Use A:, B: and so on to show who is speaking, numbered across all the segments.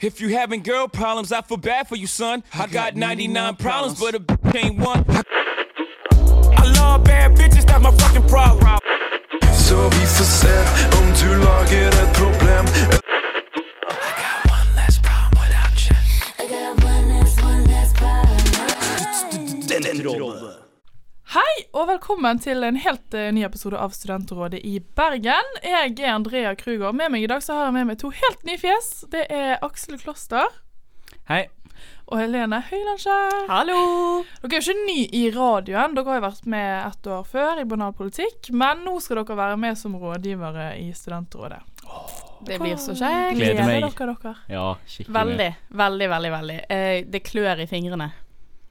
A: If you having girl problems, I feel bad for you, son. I got 99 problems, but a bitch ain't one. I love bad bitches, that's my fucking problem.
B: Så vi får se om du lager et problem.
C: Hei, og velkommen til en helt eh, ny episode av Studentrådet i Bergen. Jeg er Andrea Kruger. Med meg i dag så har jeg med meg to helt nye fjes. Det er Aksel Kloster
D: Hei.
C: og Helene Høylandskjær.
E: Hallo!
C: Dere er jo ikke ny i radioen. Dere har jo vært med ett år før i banalpolitikk. Men nå skal dere være med som rådgivere i Studentrådet.
E: Det blir så kjekt.
D: Gleder meg.
C: dere, dere.
D: Ja, skikkelig.
E: Veldig, veldig, veldig. veldig. Eh, det klør i fingrene.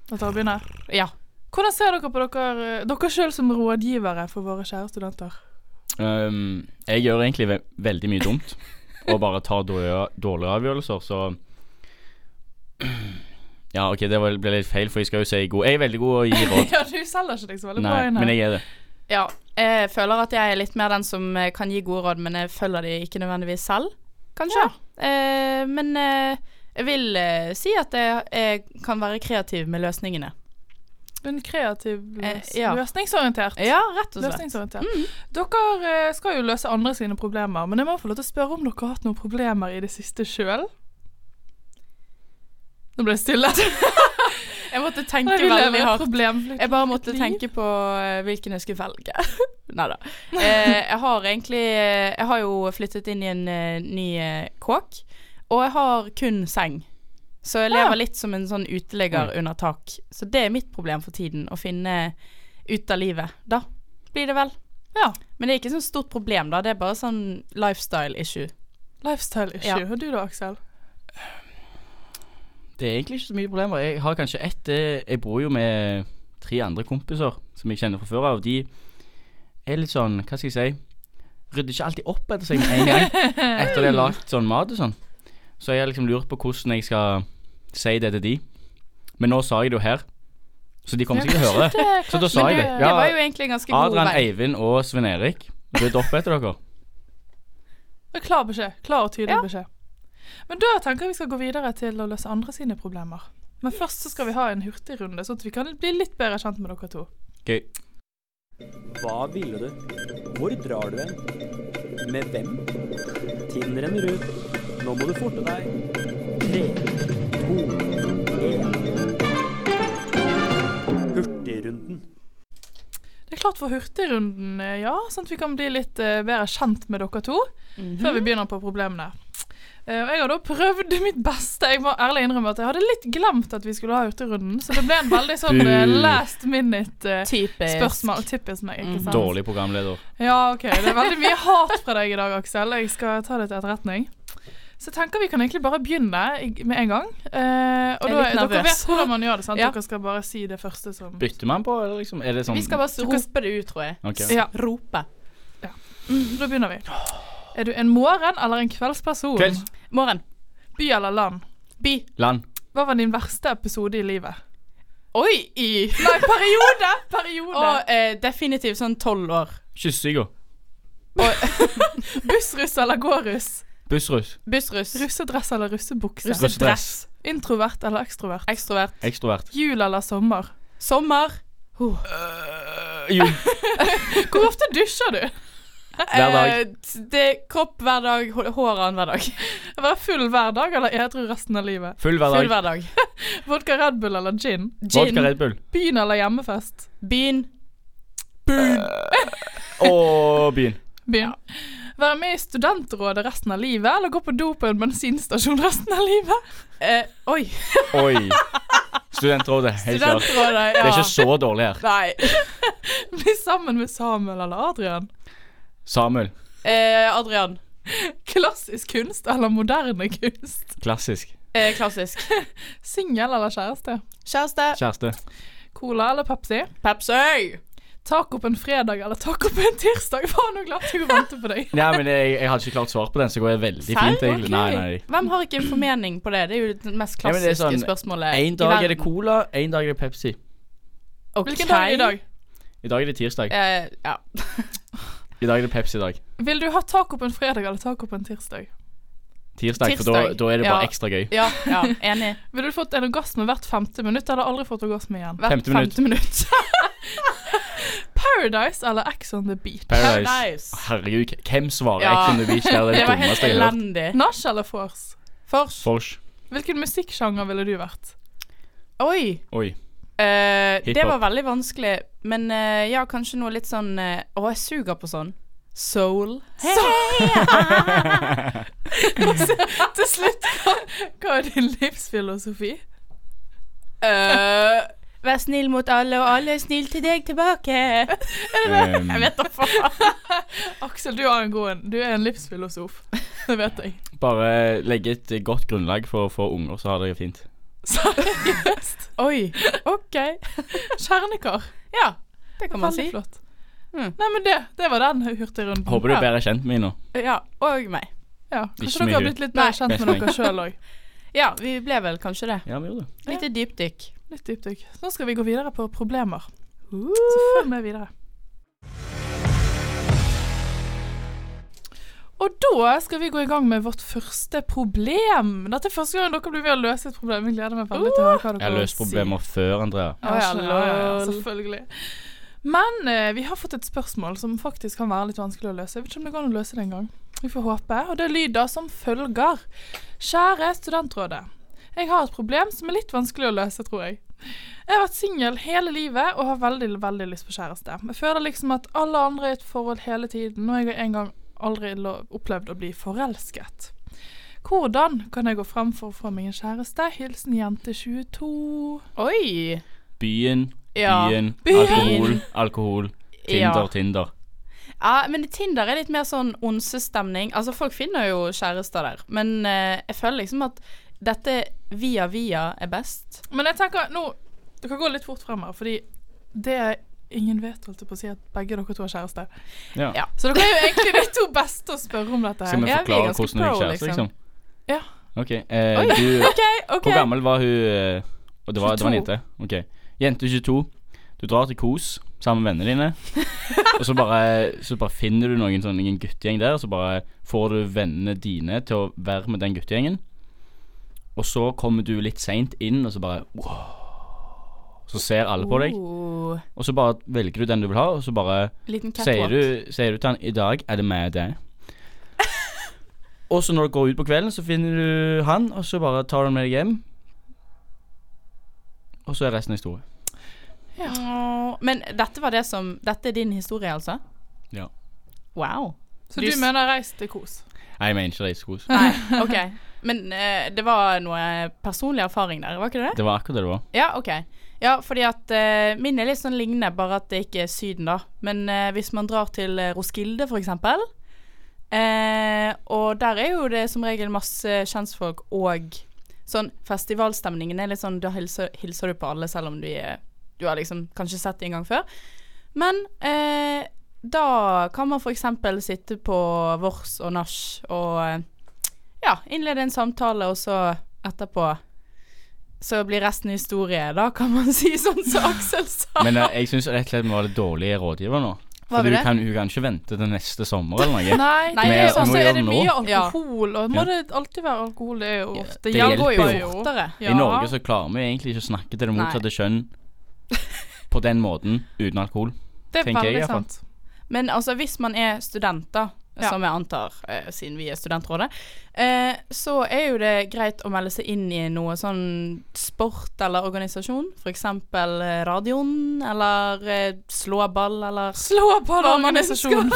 C: At dere begynner.
E: Ja.
C: Hvordan ser dere på dere, eh, dere sjøl som rådgivere for våre kjære studenter?
D: Um, jeg gjør egentlig ve veldig mye dumt, og bare tar dårlige, dårlige avgjørelser, så Ja, OK, det var- ble litt feil, for jeg skal jo si god Jeg er veldig god å gi råd.
C: ja, du selger ikke deg så veldig bra
D: Nei,
C: inn
D: men
C: her.
D: jeg er det.
E: ja. Jeg føler at jeg er litt mer den som eh, kan gi gode råd, men jeg følger de ikke nødvendigvis selv, kanskje. Eh, men eh, jeg vil eh, si at jeg, jeg kan være kreativ med løsningene.
C: Du er en kreativ,
E: Eh,
C: løs-
E: ja.
C: løsningsorientert.
E: Ja, Mm. rett og slett.
C: Løsningsorientert. Dere eh, skal jo løse andre sine problemer, men jeg må få lov til å spørre om dere har hatt noen problemer i det siste sjøl? Nå ble det stille.
E: Jeg måtte
C: Nei,
E: tenke
C: vi lever
E: veldig
C: i et
E: hardt.
C: problemfritt
E: Jeg bare måtte
C: liv.
E: tenke på eh, hvilken jeg skulle velge. Nei da. Eh, jeg har egentlig eh, Jeg har jo flyttet inn i en eh, ny eh, kåk, og jeg har kun seng. Så jeg
C: Ah.
E: lever litt som en sånn uteligger
D: Mm.
E: under tak. Så det er mitt problem for tiden, å finne ut av livet. Da blir det vel.
C: Ja.
E: Men det er ikke sånn stort problem, da. Det er bare sånn lifestyle issue.
C: Lifestyle issue.
E: Ja.
C: Og du da, Aksel?
D: Det er egentlig ikke så mye problemer. Jeg har kanskje ett eh, Jeg bor jo med tre andre kompiser som jeg kjenner fra før av. De er litt sånn, hva skal jeg si Rydder ikke alltid opp etter seg med en gang etter de har lagd sånn mat og sånn. Så jeg har liksom lurt på hvordan jeg skal si det til de. Men nå sa jeg det jo her, så de kommer sikkert til å høre det. Så da sa jeg det.
E: Det var
D: Ja,
E: jo egentlig en ganske god
D: Adrian,
E: vei.
D: Eivind og Svein Erik, rydd opp etter dere.
C: Det er Eh, Klar beskjed. Klar og tydelig
E: Ja.
C: beskjed. Men da tenker jeg vi skal gå videre til å løse andre sine problemer. Men først så skal vi ha en hurtigrunde, sånn at vi kan bli litt bedre kjent med dere to.
D: Gøy.
F: Hva ville du? Hvor drar du hen? Med hvem? Tiden renner ut. Nå må du forte deg. Tre, to, én. Hurtigrunden.
C: Det er klart for hurtigrunden, eh, ja. Sånn at vi kan bli litt eh, bedre kjent med dere to.
E: Mhm.
C: Før vi begynner på problemene. Eh, og jeg har da prøvd mitt beste. Jeg må ærlig innrømme at jeg hadde litt glemt at vi skulle ha hurtigrunden. Så det ble en veldig sånn eh,
D: Bu.
C: last minute eh,
E: Typisk. Mm.
C: spørsmål. Typisk meg, ikke sant?
D: Dårlig programleder.
C: Ja, ok. Det er veldig mye hat fra deg i dag, Aksel. Jeg skal ta det til etterretning. Så jeg tenker vi kan egentlig bare begynne i- med en gang. Eh, og
E: Jeg er
C: da,
E: litt
C: dere
E: nervøs.
C: vet hvordan man gjør det, sant?
E: Ja.
C: Dere skal bare si det første som
D: Bytter man på, eller liksom? Er det sånn
E: Vi skal bare rope det ut, tror jeg.
D: Ok.
C: Ja.
E: Rope.
C: Mm, Da begynner vi. Er du en morgen- eller en kveldsperson?
D: Kvelds.
E: Morgen.
C: By eller land?
E: By.
D: Land.
C: Hva var din verste episode i livet?
E: Oi! I.
C: Nei, periode! Periode!
E: Og eh, definitivt sånn tolv år.
D: Kyssinga.
C: bussruss eller gåruss?
D: Bussruss.
E: Bussruss.
C: Russedress eller russebukse?
E: Russe-
D: Russedress.
C: Introvert eller ekstrovert?
E: Ekstrovert.
D: Ekstrovert.
C: Jul eller sommer?
E: Sommer. Øh.
D: Jo.
C: Hvor ofte dusjer du?
D: Hver dag.
E: Eh, t- det er kropp hver dag, hå- hår annen hver dag.
C: Være full hver dag eller edru resten av livet?
D: Full hver dag.
E: Full hver dag.
C: Vodka Red Bull eller gin?
D: Vodka
E: Gin.
D: Red Bull.
C: Byen eller hjemmefest?
E: Byen.
D: Og byen.
C: Byen. Være med i studentrådet resten av livet, eller gå på do på en bensinstasjon resten av livet?
E: Eh, oi.
D: Oi. Studentrådet. Helt klart.
E: Studentrådet. Ja.
D: Det er ikke så dårlig her.
E: Nei.
C: Bli sammen med Samuel eller Adrian?
D: Samuel.
E: Eh, Adrian.
C: Klassisk kunst eller moderne kunst?
D: Klassisk.
E: Eh, klassisk.
C: Singel eller kjæreste?
E: Kjæreste.
D: Kjæreste.
C: Cola eller Pepsi?
E: Pepsi.
C: Tak opp en fredag eller tak opp en tirsdag. Faen, nå klarte jeg å vente på deg.
D: Nei, men jeg, jeg hadde ikke klart svar på den, så går jeg veldig fint, egentlig. Nei, nei.
E: Hvem har ikke en formening på det? Det er jo det mest
D: Nei, men det er sånn,
E: klassiske spørsmålet.
D: En dag er det cola, en dag er det Pepsi.
E: Ok.
C: Hvilken dag er det i dag?
D: I dag er det tirsdag.
E: Eh, ja.
D: I dag er det Pepsi i dag.
C: Vil du ha tak opp en fredag eller tak opp en tirsdag?
D: Tirsdag, for da,
E: Tirsdag,
D: da er det bare
E: ja.
D: ekstra gøy.
E: Ja, ja, enig.
C: Ville du fått en orgasme hvert femte minutt, eller aldri fått orgasme igjen?
E: Hvert
D: Femte minutt.
E: femte minutt.
C: Paradise eller Ex on the beach?
D: Paradise.
E: Paradise.
D: Herregud, k- hvem svarer
E: Ja.
D: Ex on the Beach? Det er
E: Det
D: det
E: var helt
D: dummeste jeg har hørt.
E: elendig.
C: Nach eller Force?
E: Fors.
D: Fors.
C: Hvilken musikksjanger ville du vært?
E: Oi.
D: Oi.
E: Eh, det
D: Hiphop.
E: var veldig vanskelig, men eh, ja, kanskje noe litt sånn eh, Å, jeg suger på sånn. Soul.
C: Til slutt, hva, hva er din livsfilosofi?
E: Eh, vær snill mot alle, og alle er snill til deg tilbake.
D: Um,
E: Jeg vet da faen.
C: Aksel, du har en god en. Du er en livsfilosof. Det vet jeg.
D: bare legge et godt grunnlag for å få unger, så har det fint.
C: Seriøst.
E: Oi. OK.
C: Kjernekar.
E: Ja, det kan man
C: Veldig
E: si.
C: flott.
E: Mm.
C: Nei, men det, det var den hurtigrunden.
D: Håper du
C: Ja.
D: er bedre kjent med dem nå.
E: Ja, og meg.
C: Ja,
D: Ikke
C: Kanskje
D: mye.
C: dere har blitt litt mer
E: Nei.
C: kjent med
D: Best
C: dere sjøl òg.
E: Ja, vi ble vel kanskje det.
D: Ja, vi gjør det.
E: Lite dypdykk.
C: Litt dypdykk. Nå skal vi gå videre på problemer. Så følg med videre. Og da skal vi gå i gang med vårt første problem. Dette er første gang dere blir med å løse et problem. Jeg gleder meg veldig til å høre hva dere
D: Jeg har løst problemer før, Andrea.
C: Ja,
E: Ja,
C: skjønner, ja, ja,
E: lol.
C: selvfølgelig. Men eh, vi har fått et spørsmål som faktisk kan være litt vanskelig å løse. Jeg vet ikke om det går an å løse det engang. Vi får håpe. Og det lyder som følger. Kjære Studentrådet. Jeg har et problem som er litt vanskelig å løse, tror jeg. Jeg har vært singel hele livet og har veldig, veldig lyst på kjæreste. Jeg føler liksom at alle andre er i et forhold hele tiden, og jeg har en gang aldri lo- opplevd å bli forelsket. Hvordan kan jeg gå frem for å få meg en kjæreste? Hilsen jente 22.
E: Oi.
D: Byen,
E: Ja.
D: byen,
C: Byen.
D: alkohol, alkohol. Tinder,
E: Ja.
D: Tinder.
E: Ja, men Tinder er litt mer sånn onsestemning. Altså, folk finner jo kjærester der, men eh, jeg føler liksom at dette via via er best.
C: Men jeg tenker nå Det kan gå litt fort frem her, fordi det ingen vet, holdt jeg på å si, at begge dere to har kjæreste.
D: Ja.
E: Ja.
C: Så dere er jo egentlig de to beste å spørre om dette
D: Skal
C: her.
D: vi
E: Ja, vi er
D: forklare
E: ganske
D: hvordan hun gikk
E: pro,
D: kjæreste,
E: liksom.
D: liksom?
C: Ja.
D: OK. Eh, du,
E: OK, OK.
D: Hvor gammel var hun eh, Og det var, det var en
C: 22.
D: jente? OK. Jente 22. Du drar til Kos sammen med vennene dine. og så bare, så bare finner du noen sånn ingen guttegjeng der, og så bare får du vennene dine til å være med den guttegjengen. Og så kommer du litt seint inn, og så bare wow. Så ser alle på deg,
E: Oh,
D: og så bare velger du den du vil ha, og så bare
E: liten
D: Sier
E: catwalk.
D: du, sier du til han 'I dag er det meg og deg'. og så når du går ut på kvelden, så finner du han, og så bare tar du han med deg hjem. Og så er resten historie.
E: Åh, Men dette var det som Dette er din historie, altså?
D: Ja.
E: Wow.
C: Så du mener reis til kos.
D: Nei, jeg mener ikke det er skos.
E: Nei, OK. Men eh, det var noe personlig erfaring der, var ikke det det?
D: Det var akkurat det det var.
E: Ja, OK. Ja, fordi at eh, min er litt sånn lignende, bare at det ikke er Syden, da. Men eh, hvis man drar til eh, Roskilde, for eksempel, eh, og der er jo det som regel masse kjentfolk og sånn Festivalstemningen er litt sånn Da hilser, hilser du på alle, selv om du, er, du har liksom kanskje sett dem en gang før. Men eh, da kan man f.eks. sitte på vors og nach og eh, ja, innlede en samtale, og så etterpå så blir resten historie, da, kan man si, sånn som Aksel sa.
D: Men eh, jeg syns rett og slett vi var litt dårlige rådgiver nå.
E: Var
D: For
E: vi
D: du
E: det?
D: kan, hun kan ikke vente til neste sommer eller noe.
C: Nei,
E: Nei,
C: det er
E: jeg
C: jo sånn
D: må
C: så er det
D: gjøre
C: mye
D: noe.
C: alkohol, og må
D: Ja.
C: det alltid være alkohol? Det er jo ofte
D: det
C: hjelper
D: hjelper
E: jo fortere.
D: I Norge så klarer vi egentlig ikke å snakke til det
E: Nei.
D: motsatte kjønn på den måten uten alkohol.
C: Det er
D: tenker jeg
C: veldig
D: i hvert fall.
C: sant.
E: Men altså, hvis man er student, da,
C: Ja.
E: som jeg antar, eh, siden vi er studentrådet, eh, så er jo det greit å melde seg inn i noe sånn sport eller organisasjon. F.eks. Eh, radioen, eller eh, slåball, eller
C: Slå på
E: Hva
C: den
E: man
C: organisasjonen.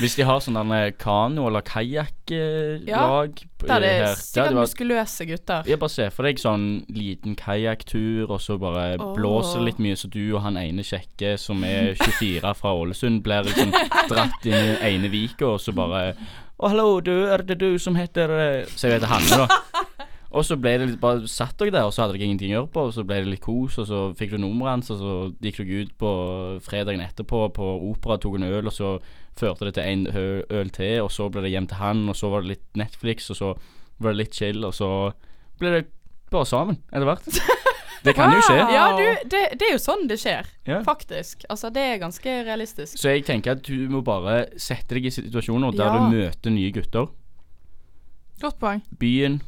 D: Hvis de har sånn der kano- eller eh, kajakklag
E: Ja, Der det er
D: det
E: sikkert
D: var-
E: muskuløse gutter.
D: Ja, bare se for deg sånn liten kajakktur, og så bare
E: Åh.
D: blåser det litt mye, så du og han ene kjekke som er 24 fra Ålesund, blir liksom dratt inn i den ene vika, og så bare Å, hallo, du, er det du som heter eh?» Så jeg heter Hanne, da. Og så ble det litt, bare satt dere der, og så hadde dere ingenting å gjøre på, og så ble det litt kos, og så fikk du nummeret hans, og så gikk dere ut på fredagen etterpå på opera, tok en øl, og så førte det til en hø- øl til, og så ble det hjem til han, og så var det litt Netflix, og så var det litt chill, og så ble det bare sammen etter hvert. Det kan jo skje.
E: Ja, du, det, det er jo sånn det skjer,
D: Ja.
E: faktisk. Altså, det er ganske realistisk.
D: Så jeg tenker at du må bare sette deg i situasjoner der
E: Ja.
D: du møter nye gutter.
C: Godt poeng.
D: Byen.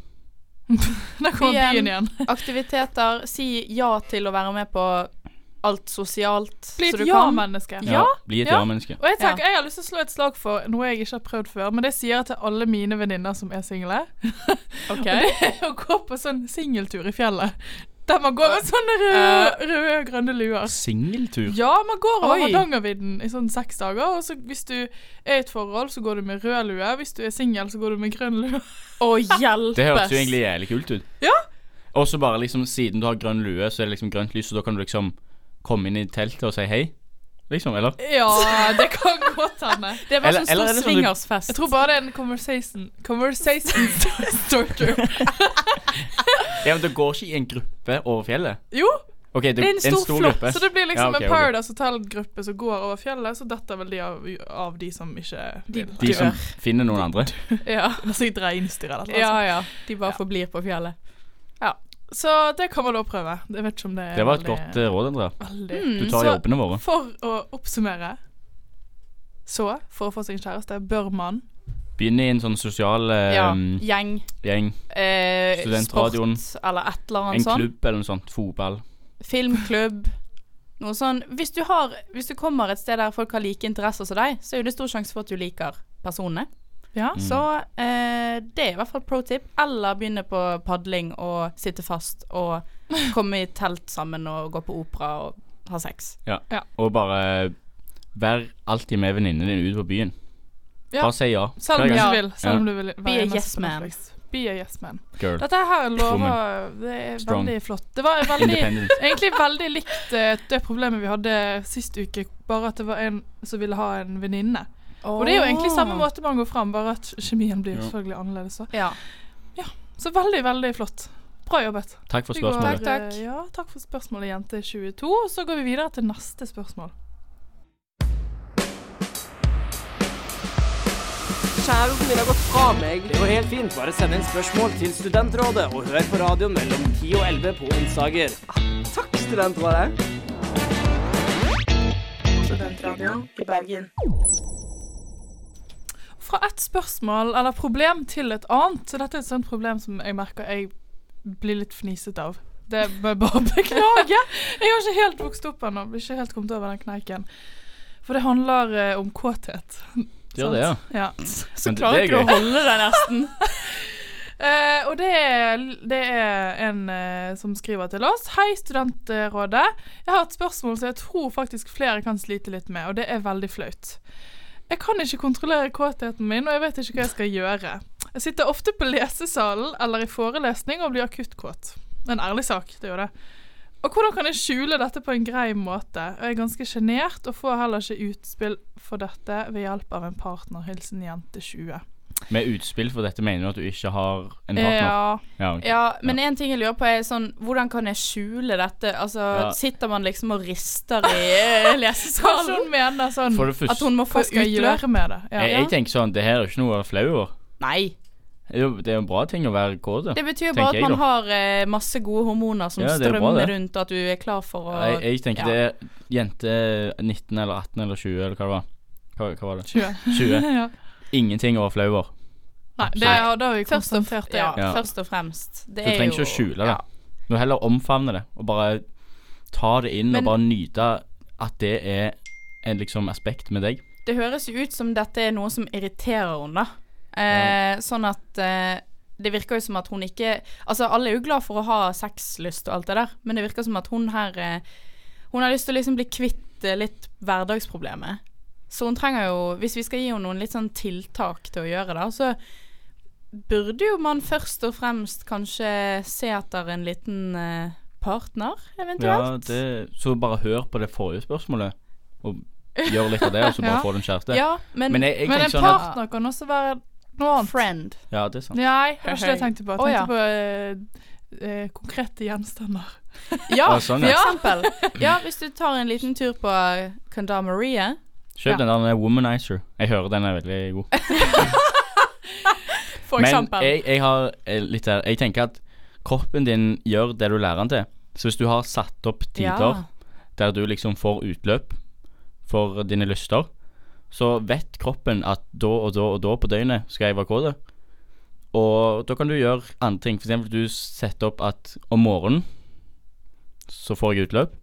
C: Der kommer
E: Byen.
C: byen igjen.
E: Aktiviteter. Si ja til å være med på alt sosialt
C: Bli
E: så
C: et
E: du kan.
C: ja-menneske.
E: Ja,
D: Bli et
C: ja.
D: ja-menneske.
C: Og jeg, tenker, jeg har lyst til å slå et slag for noe jeg ikke har prøvd før, men det sier jeg til alle mine venninner som er single.
E: Ok.
C: å gå på sånn singeltur i fjellet. Der man går med sånne røde, røde og grønne luer.
D: Singeltur.
C: Ja, man går over
E: Oi.
C: Hardangervidden i sånn seks dager. Og så hvis du er i et forhold, så går du med rød lue. Hvis du er singel, så går du med grønn lue.
E: Å, hjelpes.
D: Det hørtes jo egentlig jævlig kult ut.
C: Ja.
D: Og så bare liksom, siden du har grønn lue, så er det liksom grønt lys, og da kan du liksom komme inn i teltet og si hei. Liksom, eller?
C: Ja, det kan godt hende.
E: Det var
D: Eller-
E: sånn
D: eller er
E: stor
D: det sånn du-
E: swingersfest.
C: Jeg tror bare det er en conversation Conversation starter.
D: Ja, men det går ikke i en gruppe over fjellet.
C: Jo,
D: Ok, det,
C: det er en stor, flokk.
D: gruppe.
C: Så det blir
D: Ja,
C: liksom
D: ok,
C: en
D: ok.
C: Paradise Hotel-gruppe som går over fjellet, så detter vel de av, av de som ikke vil.
D: De som finner noen andre.
E: Ja,
C: Altså, jeg dreier innstyret eller noe.
E: ja.
C: sånt.
E: ja. De bare forblir på fjellet.
C: Så det kan man da prøve. Jeg vet ikke om det er
D: Det var et
C: veldig-
D: godt eh, råd, Andrea.
C: veldig.
E: Mm,
D: Du tar
C: så-
D: jobbene våre.
C: For å oppsummere Så, for å få seg en kjæreste, bør man
D: Begynne i en sånn sosial eh,
E: Ja. Gjeng.
D: gjeng.
E: Eh,
D: Studentradioen.
E: Sport eller et eller
D: En
E: annet sånt.
D: klubb eller noe sånt. Fotball.
E: Filmklubb. Noe sånn. Hvis du, har, hvis du kommer et sted der folk har like interesser som deg, så er jo det stor sjanse for at du liker personene.
C: Ja.
D: Mm.
E: Så eh, det er i hvert fall pro tip. Eller begynne på padling og sitte fast og komme i telt sammen og gå på opera og ha sex.
D: Og bare vær alltid med venninnen din ute på byen.
C: Ja. Sånn,
D: Bare si ja.
C: Selv
D: Hver
C: om du
D: gang.
C: ikke vil. Selv om du vil være
E: Be a
C: eneste
E: yes
C: på
E: man.
C: Netflix. Be a yes man.
D: Girl.
C: Dette her lover
D: Woman.
C: Det er
D: Strong.
C: veldig flott. Det var en veldig
D: Independent.
C: Egentlig veldig likt eh, det problemet vi hadde sist uke, bare at det var en som ville ha en venninne. Og det er jo egentlig samme måte man går fram, bare at kjemien blir
D: Ja.
C: selvfølgelig annerledes. Så.
E: Ja.
C: så veldig, veldig flott. Bra jobbet.
D: Takk for
C: Vi går-
D: spørsmålet.
E: Takk, takk.
C: Ja, takk for spørsmålet, jente 22. Så går vi videre til neste spørsmål.
F: Kjæresten min har gått fra meg. Det går helt fint. Bare send inn spørsmål til Studentrådet, og hør på radioen mellom 10 og 11 på onsdager. Takk, Studentrådet.
G: Studentradioen i Bergen.
C: Fra ett spørsmål eller problem til et annet. Så dette er et sånt problem som jeg merker jeg blir litt fniset av. Det må jeg bare beklage. Jeg har ikke helt vokst opp ennå. Blir ikke helt kommet over den kneiken. For det handler eh, om kåthet.
D: Gjør det, ja.
C: Ja.
D: Men det-
E: Klarer
D: det
E: ikke
D: er
E: å
D: gøy.
E: holde deg nesten.
C: Eh, og det er, det er en eh, som skriver til oss. Hei, Studentrådet. Jeg har et spørsmål som jeg tror faktisk flere kan slite litt med, og det er veldig flaut. Jeg kan ikke kontrollere kåtheten min, og jeg vet ikke hva jeg skal gjøre. Jeg sitter ofte på lesesalen eller i forelesning og blir akutt kåt. En ærlig sak, det er jo det. Og hvordan kan jeg skjule dette på en grei måte? Og jeg er ganske sjenert og får heller ikke utspill for dette ved hjelp av en partner. Hilsen jente 20.
D: Med utspill for dette mener du at du ikke har en partner?
C: Ja.
D: Ja, ok.
E: Ja, men en ting jeg lurer på er sånn Hvordan kan jeg skjule dette? Altså,
D: Ja.
E: sitter man liksom og rister i eh,
C: Kanskje
E: lesesalen?
C: hun mener sånn
D: For det første
E: At hun må få
C: Hva skal jeg
E: utløp?
C: gjøre med det? Ja.
D: jeg, jeg tenker sånn, det her er jo ikke noe å være flau over.
E: Nei.
D: Det er jo- det er jo en bra ting å være kåt. da.
E: Det betyr jo
D: Tenker
E: bare at
D: jeg
E: man
D: da.
E: har eh, masse gode hormoner som
D: Ja, det er bra,
E: strømmer
D: det.
E: rundt, og at du er klar for å
D: Jeg, jeg tenker
E: ja.
D: det er jente 19 eller 18 eller 20 eller hva det var. Hva, hva var det?
C: Tjue.
D: 20.
C: ja.
D: Ingenting å være flau over.
C: Nei, det har da har vi
E: Først og,
C: konstatert.
E: ja,
C: Ja.
D: Ja.
E: først og fremst. Det
D: Du
E: er
D: trenger
E: jo-
D: ikke å skjule det.
E: ja.
D: Du må heller omfavne det, og bare ta det inn
E: Men-
D: og bare nyte at det er et liksom aspekt med deg.
E: Det høres jo ut som dette er noe som irriterer henne, da. Eh, Sånn at eh, det virker jo som at hun ikke Altså, alle er jo glad for å ha sexlyst og alt det der, men det virker som at hun her eh, Hun har lyst til å liksom bli kvitt eh, litt hverdagsproblemet. Så hun trenger jo Hvis vi skal gi henne noen litt sånn tiltak til å gjøre det, så burde jo man først og fremst kanskje se etter en liten eh, partner,
D: Ja,
E: eventuelt.
D: det, så bare hør på det forrige spørsmålet, og gjør litt av det, og så bare
C: Ja.
D: får du en kjæreste.
E: Ja, men,
D: Men jeg, jeg
C: Men
D: tenker
C: en
D: sånn at
C: partner kan også være noe annet.
E: friend.
D: Ja, det er sant.
C: Nei, det var ikke det jeg tenkte på.
E: Å,
C: Jeg
E: ja.
C: tenkte på eh, eh, konkrete gjenstander.
E: Ja,
D: Å, sånn,
E: for
D: ja.
E: eksempel. Ja, hvis du tar en liten tur på Condamaria
D: Kjøp
C: Ja.
D: den der den er Womanizer. Jeg hører den er veldig god.
E: for
D: Men
E: eksempel.
D: jeg, jeg har eh, litt der Jeg tenker at kroppen din gjør det du lærer den til. Så hvis du har satt opp tider
E: Ja.
D: der du liksom får utløp for dine lyster, så vet kroppen at da og da og da på døgnet skal jeg være kåt. Og da kan du gjøre andre ting. For eksempel du setter opp at om morgenen så får jeg utløp.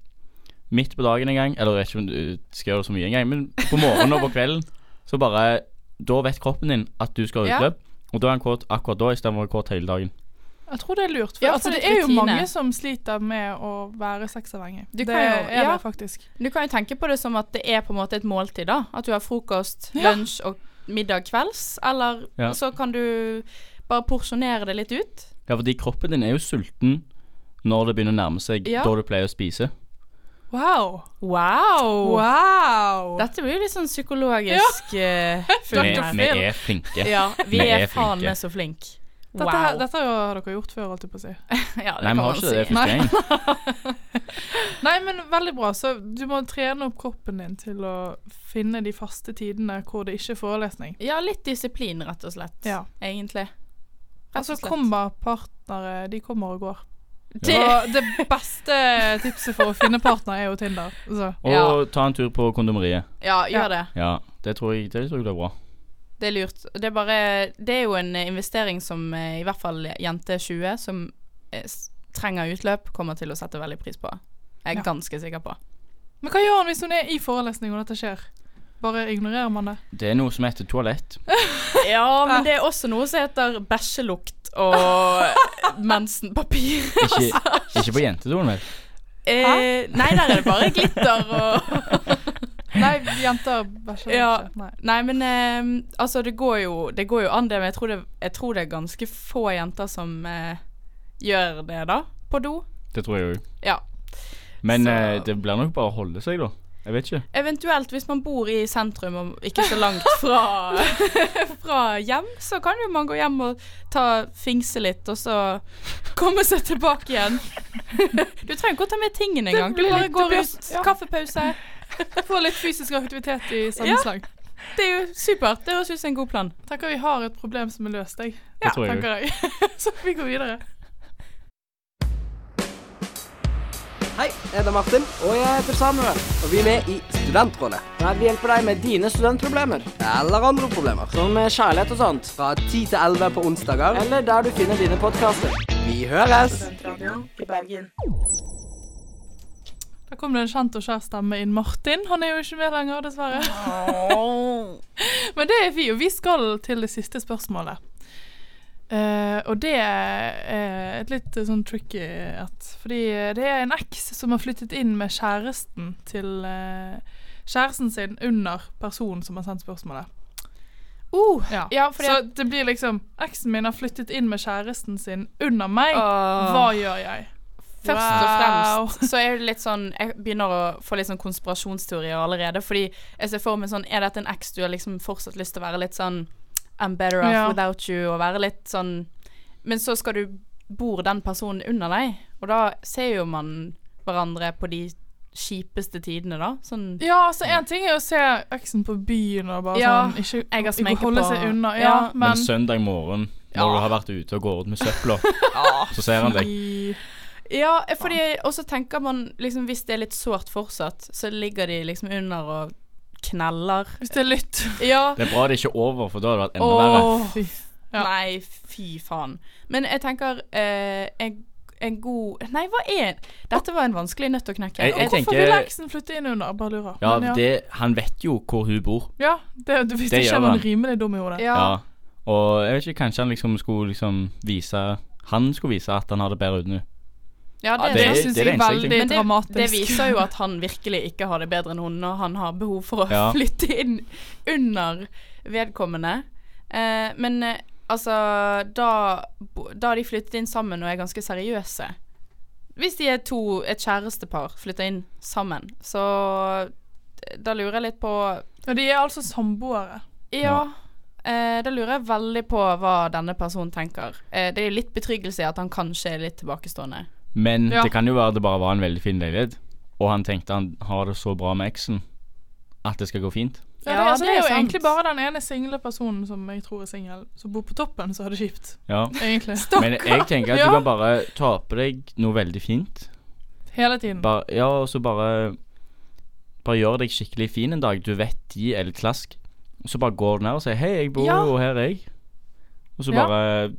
D: Midt på dagen en gang, eller jeg vet ikke om du skal gjøre det så mye en gang, men på morgenen og på kvelden så bare Da vet kroppen din at du skal ha
E: Ja.
D: utløp, og da er han kåt akkurat da istedenfor å være kåt hele dagen.
C: Jeg tror det er lurt. For
E: Ja,
C: altså,
E: for
C: det
E: litt
C: er jo
E: rutine.
C: mange som sliter med å være sexavhengig.
E: Du
C: Det
E: kan jo-
C: er
E: ja.
C: det faktisk.
E: Du kan jo tenke på det som at det er på en måte et måltid, da. At du har frokost,
C: Ja.
E: lunsj og middag kvelds. Eller
D: Ja.
E: så kan du bare porsjonere det litt ut.
D: Ja, fordi kroppen din er jo sulten når det begynner å nærme seg
E: Ja.
D: da du pleier å spise.
C: Wow. Oh.
E: Wow!
C: Wow.
E: Dette blir jo litt sånn psykologisk eh, funn
D: Vi,
E: her.
D: vi er flinke.
E: Ja, vi
D: Vi
E: er
D: er
E: faen
D: flinke.
E: meg så flink. Wow.
C: Dette, her, dette har dere gjort før, holdt jeg på å si.
E: ja,
D: Nei, vi
E: det kan man
D: har ikke det. Det er
E: si.
C: Nei.
D: første gang.
C: Nei, men veldig bra. Så du må trene opp kroppen din til å finne de faste tidene hvor det ikke er forelesning.
E: Ja, litt disiplin, rett og slett.
C: Ja.
E: Egentlig.
C: Og så kommer partnere De kommer og går.
E: Det,
C: Og det beste Eh, tipset for å finne partner er jo Tinder. Altså, Så.
D: Og
E: Ja.
D: ta en tur på kondomeriet.
E: ja,
C: Ja.
E: gjør det.
D: Ja, det tror jeg, det tror jeg blir bra.
E: Det er lurt. Det er, bare, det er jo en eh, investering som eh, i hvert fall jente 20, som eh, s- trenger utløp, kommer til å sette veldig pris på. Jeg er
C: Ja.
E: ganske sikker på.
C: Men hva gjør han hvis hun er i forelesning og dette skjer? Bare ignorerer man det?
D: Det er noe som heter toalett.
E: Ja, men det er også noe som heter bæsjelukt og mensenpapir.
D: Ikke, ikke på jentedoen, vel.
E: Eh, nei, der er det bare glitter og
C: Nei, jenter bæsjer
E: Ja.
C: ikke. Nei.
E: Nei, men eh, altså, det går, jo, det går jo an, det. Men jeg tror det, jeg tror det er ganske få jenter som eh, gjør det, da. På do.
D: Det tror jeg òg.
E: Ja.
D: Men
E: Så-
D: eh, det blir nok bare å holde seg, da. Jeg vet ikke.
E: Eventuelt hvis man bor i sentrum og ikke så langt fra, fra hjem, så kan jo man gå hjem og ta fingse litt, og så komme seg tilbake igjen. Du trenger ikke å ta med tingene engang. Du
C: blir
E: bare
C: litt-
E: går
C: det blir-
E: ut,
C: ja.
E: kaffepause.
C: Få litt fysisk aktivitet i samme
E: Ja.
C: slag.
E: Det er jo supert. Det høres ut som en god plan.
C: Tenker vi har et problem som er løst, jeg.
D: Det tror jeg òg.
C: Tenker jeg. Så vi går videre.
H: Hei, jeg heter Martin. Og jeg heter Samuel. Og vi er med i Studentrådet.
I: Her vi hjelper deg med dine studentproblemer,
H: Eller andre problemer.
I: som med kjærlighet og sånt.
H: Fra 10 til 11 på onsdager.
I: Eller der du finner dine podkaster.
H: Vi høres!
G: Studentradioen i Bergen.
C: Da kom det en kjent og kjær stemme inn. Martin han er jo ikke med lenger, dessverre. Men det er vi, og vi skal til det siste spørsmålet. Eh, og det er et litt eh, sånn tricky et. Fordi eh, det er en eks som har flyttet inn med kjæresten til eh, Kjæresten sin under personen som har sendt spørsmålet.
E: Uh,
C: Ja.
E: Ja, fordi
C: Så det blir liksom Eksen min har flyttet inn med kjæresten sin under meg. Hva gjør jeg?
E: Først og
C: Wow.
E: fremst så er det litt sånn Jeg begynner å få litt sånn konspirasjonsteorier allerede. Fordi jeg ser for meg sånn Er dette en eks du har liksom fortsatt lyst til å være litt sånn I'm better off
C: Ja.
E: without you, og være litt sånn Men så skal du Bor den personen under deg, og da ser jo man hverandre på de kjipeste tidene, da. Sånn
C: Ja, altså en ting er å se eksen på byen og bare
E: Ja,
C: sånn ikke,
E: jeg har
C: ikke
E: sminke
C: holde
E: på-
C: seg unna. Ja,
E: Ja.
D: Men
C: men,
D: søndag morgen, når du har vært ute og går ut med søpla, så ser han deg.
C: I-
E: Ja, fordi Og så tenker man liksom Hvis det er litt sårt fortsatt, så ligger de liksom under og kneller.
C: Hvis det er lytt.
E: Ja.
D: Det er bra det ikke er over, for da hadde det vært enda verre.
E: Åh,
C: Fy. Ja.
E: Nei, fy faen. Men jeg tenker eh, en, en god Nei, hva er Dette var en vanskelig nøtt å knekke.
D: Jeg- jeg
C: Hvorfor
D: tenker-
C: vil eksen flytte inn under? Bare lurer.
D: Ja,
C: Men
D: det, han vet jo hvor hun bor.
C: ja det, du, hvis
D: det
C: det ikke
D: gjør
C: er man
D: han.
C: rimelig dum i hodet.
E: ja.
D: Ja. Og jeg vet ikke, kanskje han liksom skulle liksom vise Han skulle vise at han har det bedre uten henne.
E: Ja, det,
C: det,
E: er
D: det-
E: sant.
C: synes
D: det er
C: jeg
D: det
C: er
D: eneste jeg
C: veldig
D: tenker.
E: Men det,
C: dramatisk.
E: det viser jo at han virkelig ikke har det bedre enn hun, og han har behov for å
D: Ja.
E: flytte inn under vedkommende. Eh, men eh, altså da, bo- da de flyttet inn sammen og er ganske seriøse Hvis de er to, et kjærestepar, flytter inn sammen, så da lurer jeg litt på
C: Og de er altså samboere.
E: Ja. Eh, da lurer jeg veldig på hva denne personen tenker. Eh, det er jo litt betryggelse i at han kanskje er litt tilbakestående.
D: Men
C: Ja.
D: det kan jo være det bare var en veldig fin leilighet, og han tenkte han har det så bra med eksen at det skal gå fint.
C: Ja, det,
E: Ja,
C: altså,
E: det
C: det er
E: er
C: jo
E: sant.
C: egentlig bare den ene single personen som jeg tror er singel, som bor på toppen, som har det kjipt.
D: Ja.
C: Egentlig.
D: Men jeg tenker at du
C: Ja.
D: kan bare ta på deg noe veldig fint.
C: Hele tiden.
D: Bare, ja, og så bare Bare gjør deg skikkelig fin en dag. Du vet de er litt klask. Og så bare går du ned og sier 'Hei, jeg bor
C: Ja.
D: jo her, jeg'. Og så
C: Ja.
D: bare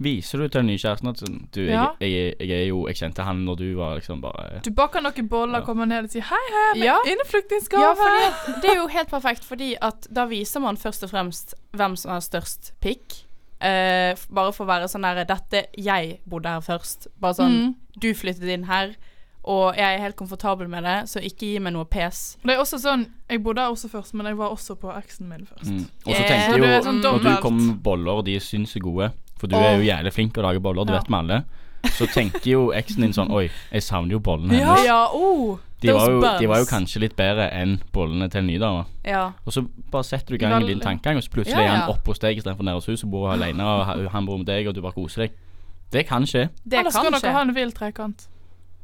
D: Viser du til den nye kjæresten at sånn, du, jeg,
C: Ja.
D: jeg, jeg er jo Jeg kjente han når du var liksom bare
C: Du baker noen boller,
D: Ja.
C: kommer ned og sier hei, hei, med
E: Ja.
C: innflyktingsgave.
E: Ja, fordi at, det er jo helt perfekt, fordi at da viser man først og fremst hvem som har størst pikk. Eh, f- bare for å være sånn der Dette jeg bodde her først. Bare sånn
C: Mm.
E: Du flyttet inn her, og jeg er helt komfortabel med det, så ikke gi meg noe pes.
C: Og Det er også sånn, Jeg bodde her også først, men jeg var også på eksen min først.
D: mm. Og så
E: Eh,
D: tenkte
C: så
D: jeg
C: du er
D: jo
C: sånn
D: Når du
C: dobbelt.
D: kommer med boller og de syns er gode For du
E: Åh.
D: er jo jævlig flink til å lage boller, det
E: Ja.
D: vet vi alle. Så tenker jo eksen din sånn Oi, jeg savner jo bollene
C: Ja.
D: hennes.
E: Ja, oh,
D: De var, jo, de var jo
E: buns.
D: kanskje litt bedre enn bollene til den nye dama.
E: Ja.
D: Og så bare setter du i gang en
C: Vel-
D: liten tankegang, og så plutselig
E: Ja,
D: er
E: ja.
D: han oppe hos deg istedenfor nede hos huset og bor alene, og ha- han bor med deg, og du bare koser deg. Det kan skje.
E: Det
C: Ellers
E: kan
C: kan
E: skje.
C: dere ha en vill trekant.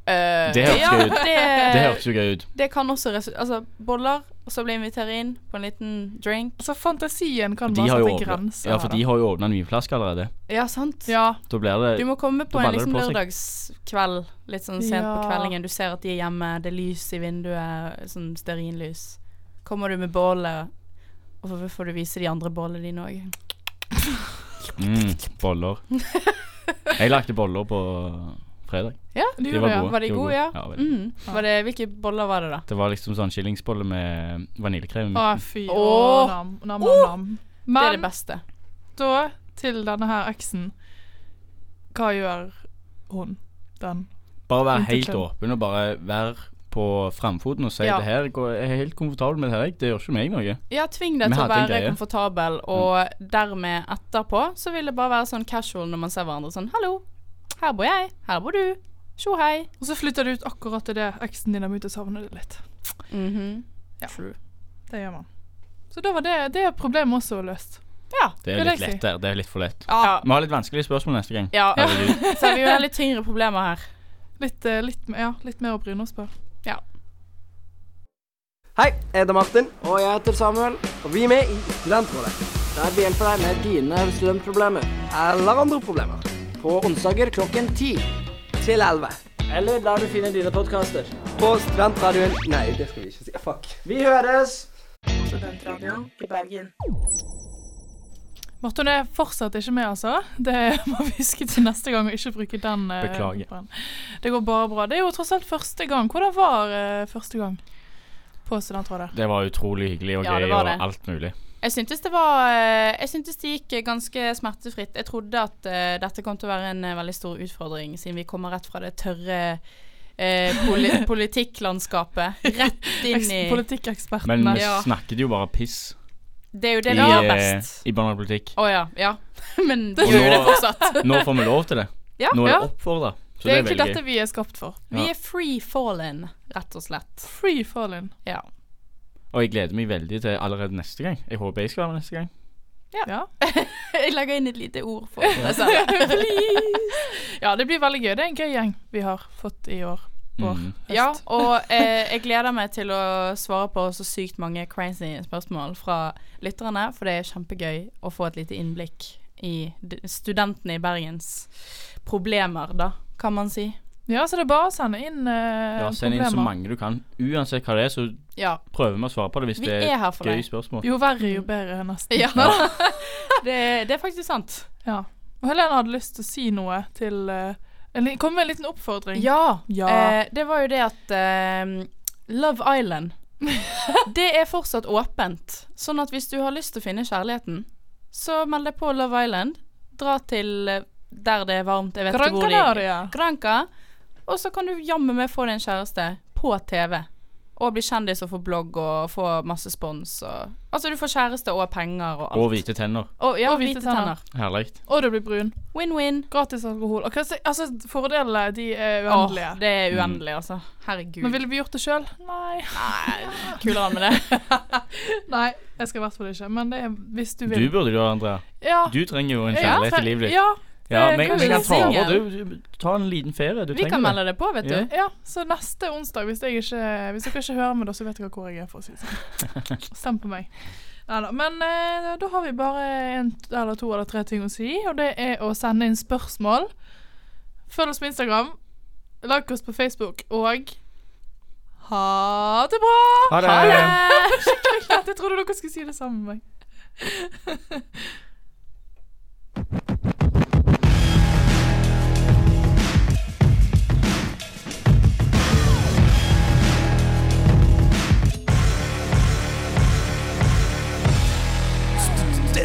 E: Eh,
D: Det hørtes
E: ja,
D: gøy ut. Det
E: det,
D: hørtes jo gøy ut.
E: det kan også resu... Altså, boller, og så bli invitert inn på en liten drink.
C: Altså, Fantasien kan
D: De
C: bare
D: har jo
C: sette
D: åpnet-
C: grenser.
D: ja, for de
C: da.
D: har jo åpna en vinflaske allerede.
E: Ja, sant?
C: ja,
D: Da blir det
E: Du må komme på
D: Da
E: en
D: baller det
E: liksom
D: på seg.
E: lørdagskveld, litt sånn sent på
C: Ja.
E: kveldingen. Du ser at de er hjemme, det er lys i vinduet, sånn stearinlys. Kommer du med bålet, og så får du vise de andre bålene dine òg.
D: mm, boller. Jeg lagde boller på fredag.
E: Ja,
C: de
D: De
C: gjorde
D: var
C: det.
D: gode.
E: Var de gode, ja?
D: Ja, veldig.
E: Mm. Var det, hvilke boller var det, da?
D: Det var liksom sånn skillingsbolle med vaniljekrem. i
C: Å,
D: midten.
C: fy. Å,
E: Åh.
C: nam, nam, nam, nam. Men
E: det er det beste.
C: da, til denne her eksen, hva gjør hun? Den.
D: Bare være helt
C: Vinterklem.
D: åpen og bare være på framfoten og si
E: Ja.
D: det her går, jeg er helt komfortabel med det her, jeg. det gjør ikke meg noe.
E: Ja, tving deg
D: Vi
E: til å
D: hadde en
E: være
D: greie. Mm.
E: komfortabel, og dermed etterpå så vil det bare være sånn casual når man ser hverandre sånn Hallo, her bor jeg, her bor du. Tjo hei.
C: Og så flytter du ut akkurat til det eksen din har begynt å savne det litt.
E: Mhm.
C: Ja. Det gjør man. Så da var det, det problemet også løst.
E: Ja.
D: Det
C: Vil
D: er
C: jeg
D: litt
C: si.
D: lett der. Det er litt for lett.
E: Ja.
D: Vi har litt vanskelige spørsmål neste gang.
E: ja.
D: Herregud.
E: Så vi har litt tyngre problemer her.
C: Litt, eh, litt, mer- ja, litt mer å bryne oss på.
H: Hei, jeg heter Martin,
I: Og jeg heter Samuel,
H: og vi er med i Studentrådet.
I: der vi hjelper deg med dine studentproblemer.
H: Eller andre problemer.
I: På onsdager klokken 10.
H: Til 11.
I: Eller der du finner dine podkaster.
H: På Studentradioen Nei, det skal vi ikke si. Fuck.
I: Vi høres!
G: Studentradioen i Bergen.
C: Morten er fortsatt ikke med, altså. Det må vi huske til neste gang, og ikke bruke den. eh,
D: Beklager.
C: på den. Det går bare bra. Det er jo tross alt første gang. Hvordan var eh, første gang på Studentrådet?
D: Det var utrolig hyggelig og
E: Ja, det
D: gøy
E: var
D: og
E: det.
D: alt mulig.
E: Jeg syntes det var eh, Jeg syntes det gikk eh, ganske smertefritt. Jeg trodde at eh, dette kom til å være en eh, veldig stor utfordring, siden vi kommer rett fra det tørre eh, poli politikklandskapet. Rett inn i
C: Eks- Politikkekspertene.
D: Men vi
E: Ja.
D: snakket jo bare piss
E: Det er jo
D: i,
E: det vi gjør
D: eh,
E: best.
D: i barnehagepolitikk.
E: Å ja. Ja. Men vi
D: Og
E: gjør jo det
D: nå-
E: fortsatt.
D: Nå får vi lov til det.
E: Ja,
D: Nå er
C: ja.
D: det oppfordra. Så
C: det
D: det
C: er
D: er
C: egentlig
D: veldig
C: dette
D: gøy.
C: vi er skapt for.
E: Vi er free fallen, rett og slett.
C: Free falling.
E: Ja.
D: Og jeg gleder meg veldig til allerede neste gang. Jeg håper jeg skal være med neste gang.
C: Ja.
E: Jeg legger inn et lite ord for det. Sara.
C: ja, det blir veldig gøy. Det er en gøy gjeng vi har fått i år. Vår.
D: Mhm.
E: Ja, og eh, jeg gleder meg til å svare på så sykt mange crazy spørsmål fra lytterne, for det er kjempegøy å få et lite innblikk i d- studentene i Bergens problemer, da, kan man si.
C: Ja, så det er bare å sende inn eh,
D: Ja, Send inn så
C: problemer.
D: mange du kan. Uansett hva det er, så
E: Ja,
D: prøver vi å svare på det hvis
E: vi
D: det
E: er
D: er
E: her for
D: gøy
E: deg.
D: spørsmål.
C: Jo verre, jo bedre, nesten.
E: Ja, det, det er faktisk sant.
C: Ja. Og Helene hadde lyst til å si noe til eh, en li- Komme med en liten oppfordring.
E: Ja.
C: Ja.
E: Eh, det var jo det at eh, Love Island Det er fortsatt åpent. Sånn at hvis du har lyst til å finne kjærligheten, så meld deg på Love Island. Dra til eh, der det er varmt. Jeg vet
C: Gran
E: ikke hvor de
C: Canaria.
E: Granca. Og så kan du jammen meg få deg en kjæreste på TV. Og bli kjendis og få blogg og få masse spons og Altså, du får kjæreste og penger og alt.
D: Og hvite tenner.
E: Og, ja,
C: Og hvite
E: hvite tenner.
D: Herlig.
C: Og du blir brun.
E: Win-win.
C: Gratis alkohol. Og hva si- altså, fordelene de er
E: Åh,
C: uendelige.
E: det er uendelig, altså. Herregud.
C: Men ville vi gjort det sjøl? Nei.
E: Nei, kulere med det.
C: Nei, jeg skal i hvert fall ikke. Men det er hvis du
D: Du
C: vil.
D: burde jo, Andrea.
C: ja.
D: Du trenger jo en
C: Ja,
D: kjærlighet
C: for-
D: i livet ditt.
C: Ja,
D: Ja,
C: det
D: men
C: kan
D: vi
C: vi
D: kan
E: si.
D: ta over, du. Ta en liten ferie. Du
E: Vi kan
D: trenger det.
E: melde det på, vet
D: Ja.
E: du.
C: ja. Så neste onsdag, hvis, jeg ikke, hvis dere ikke hører meg da, så vet dere hvor jeg er, for å si det sånn. Stem på meg. Neida, Men eh, da har vi bare en eller to eller tre ting å si, og det er å sende inn spørsmål. Følg oss på Instagram, like oss på Facebook, og ha det bra!
D: Ha det!
C: Jeg trodde dere skulle si det sammen med meg.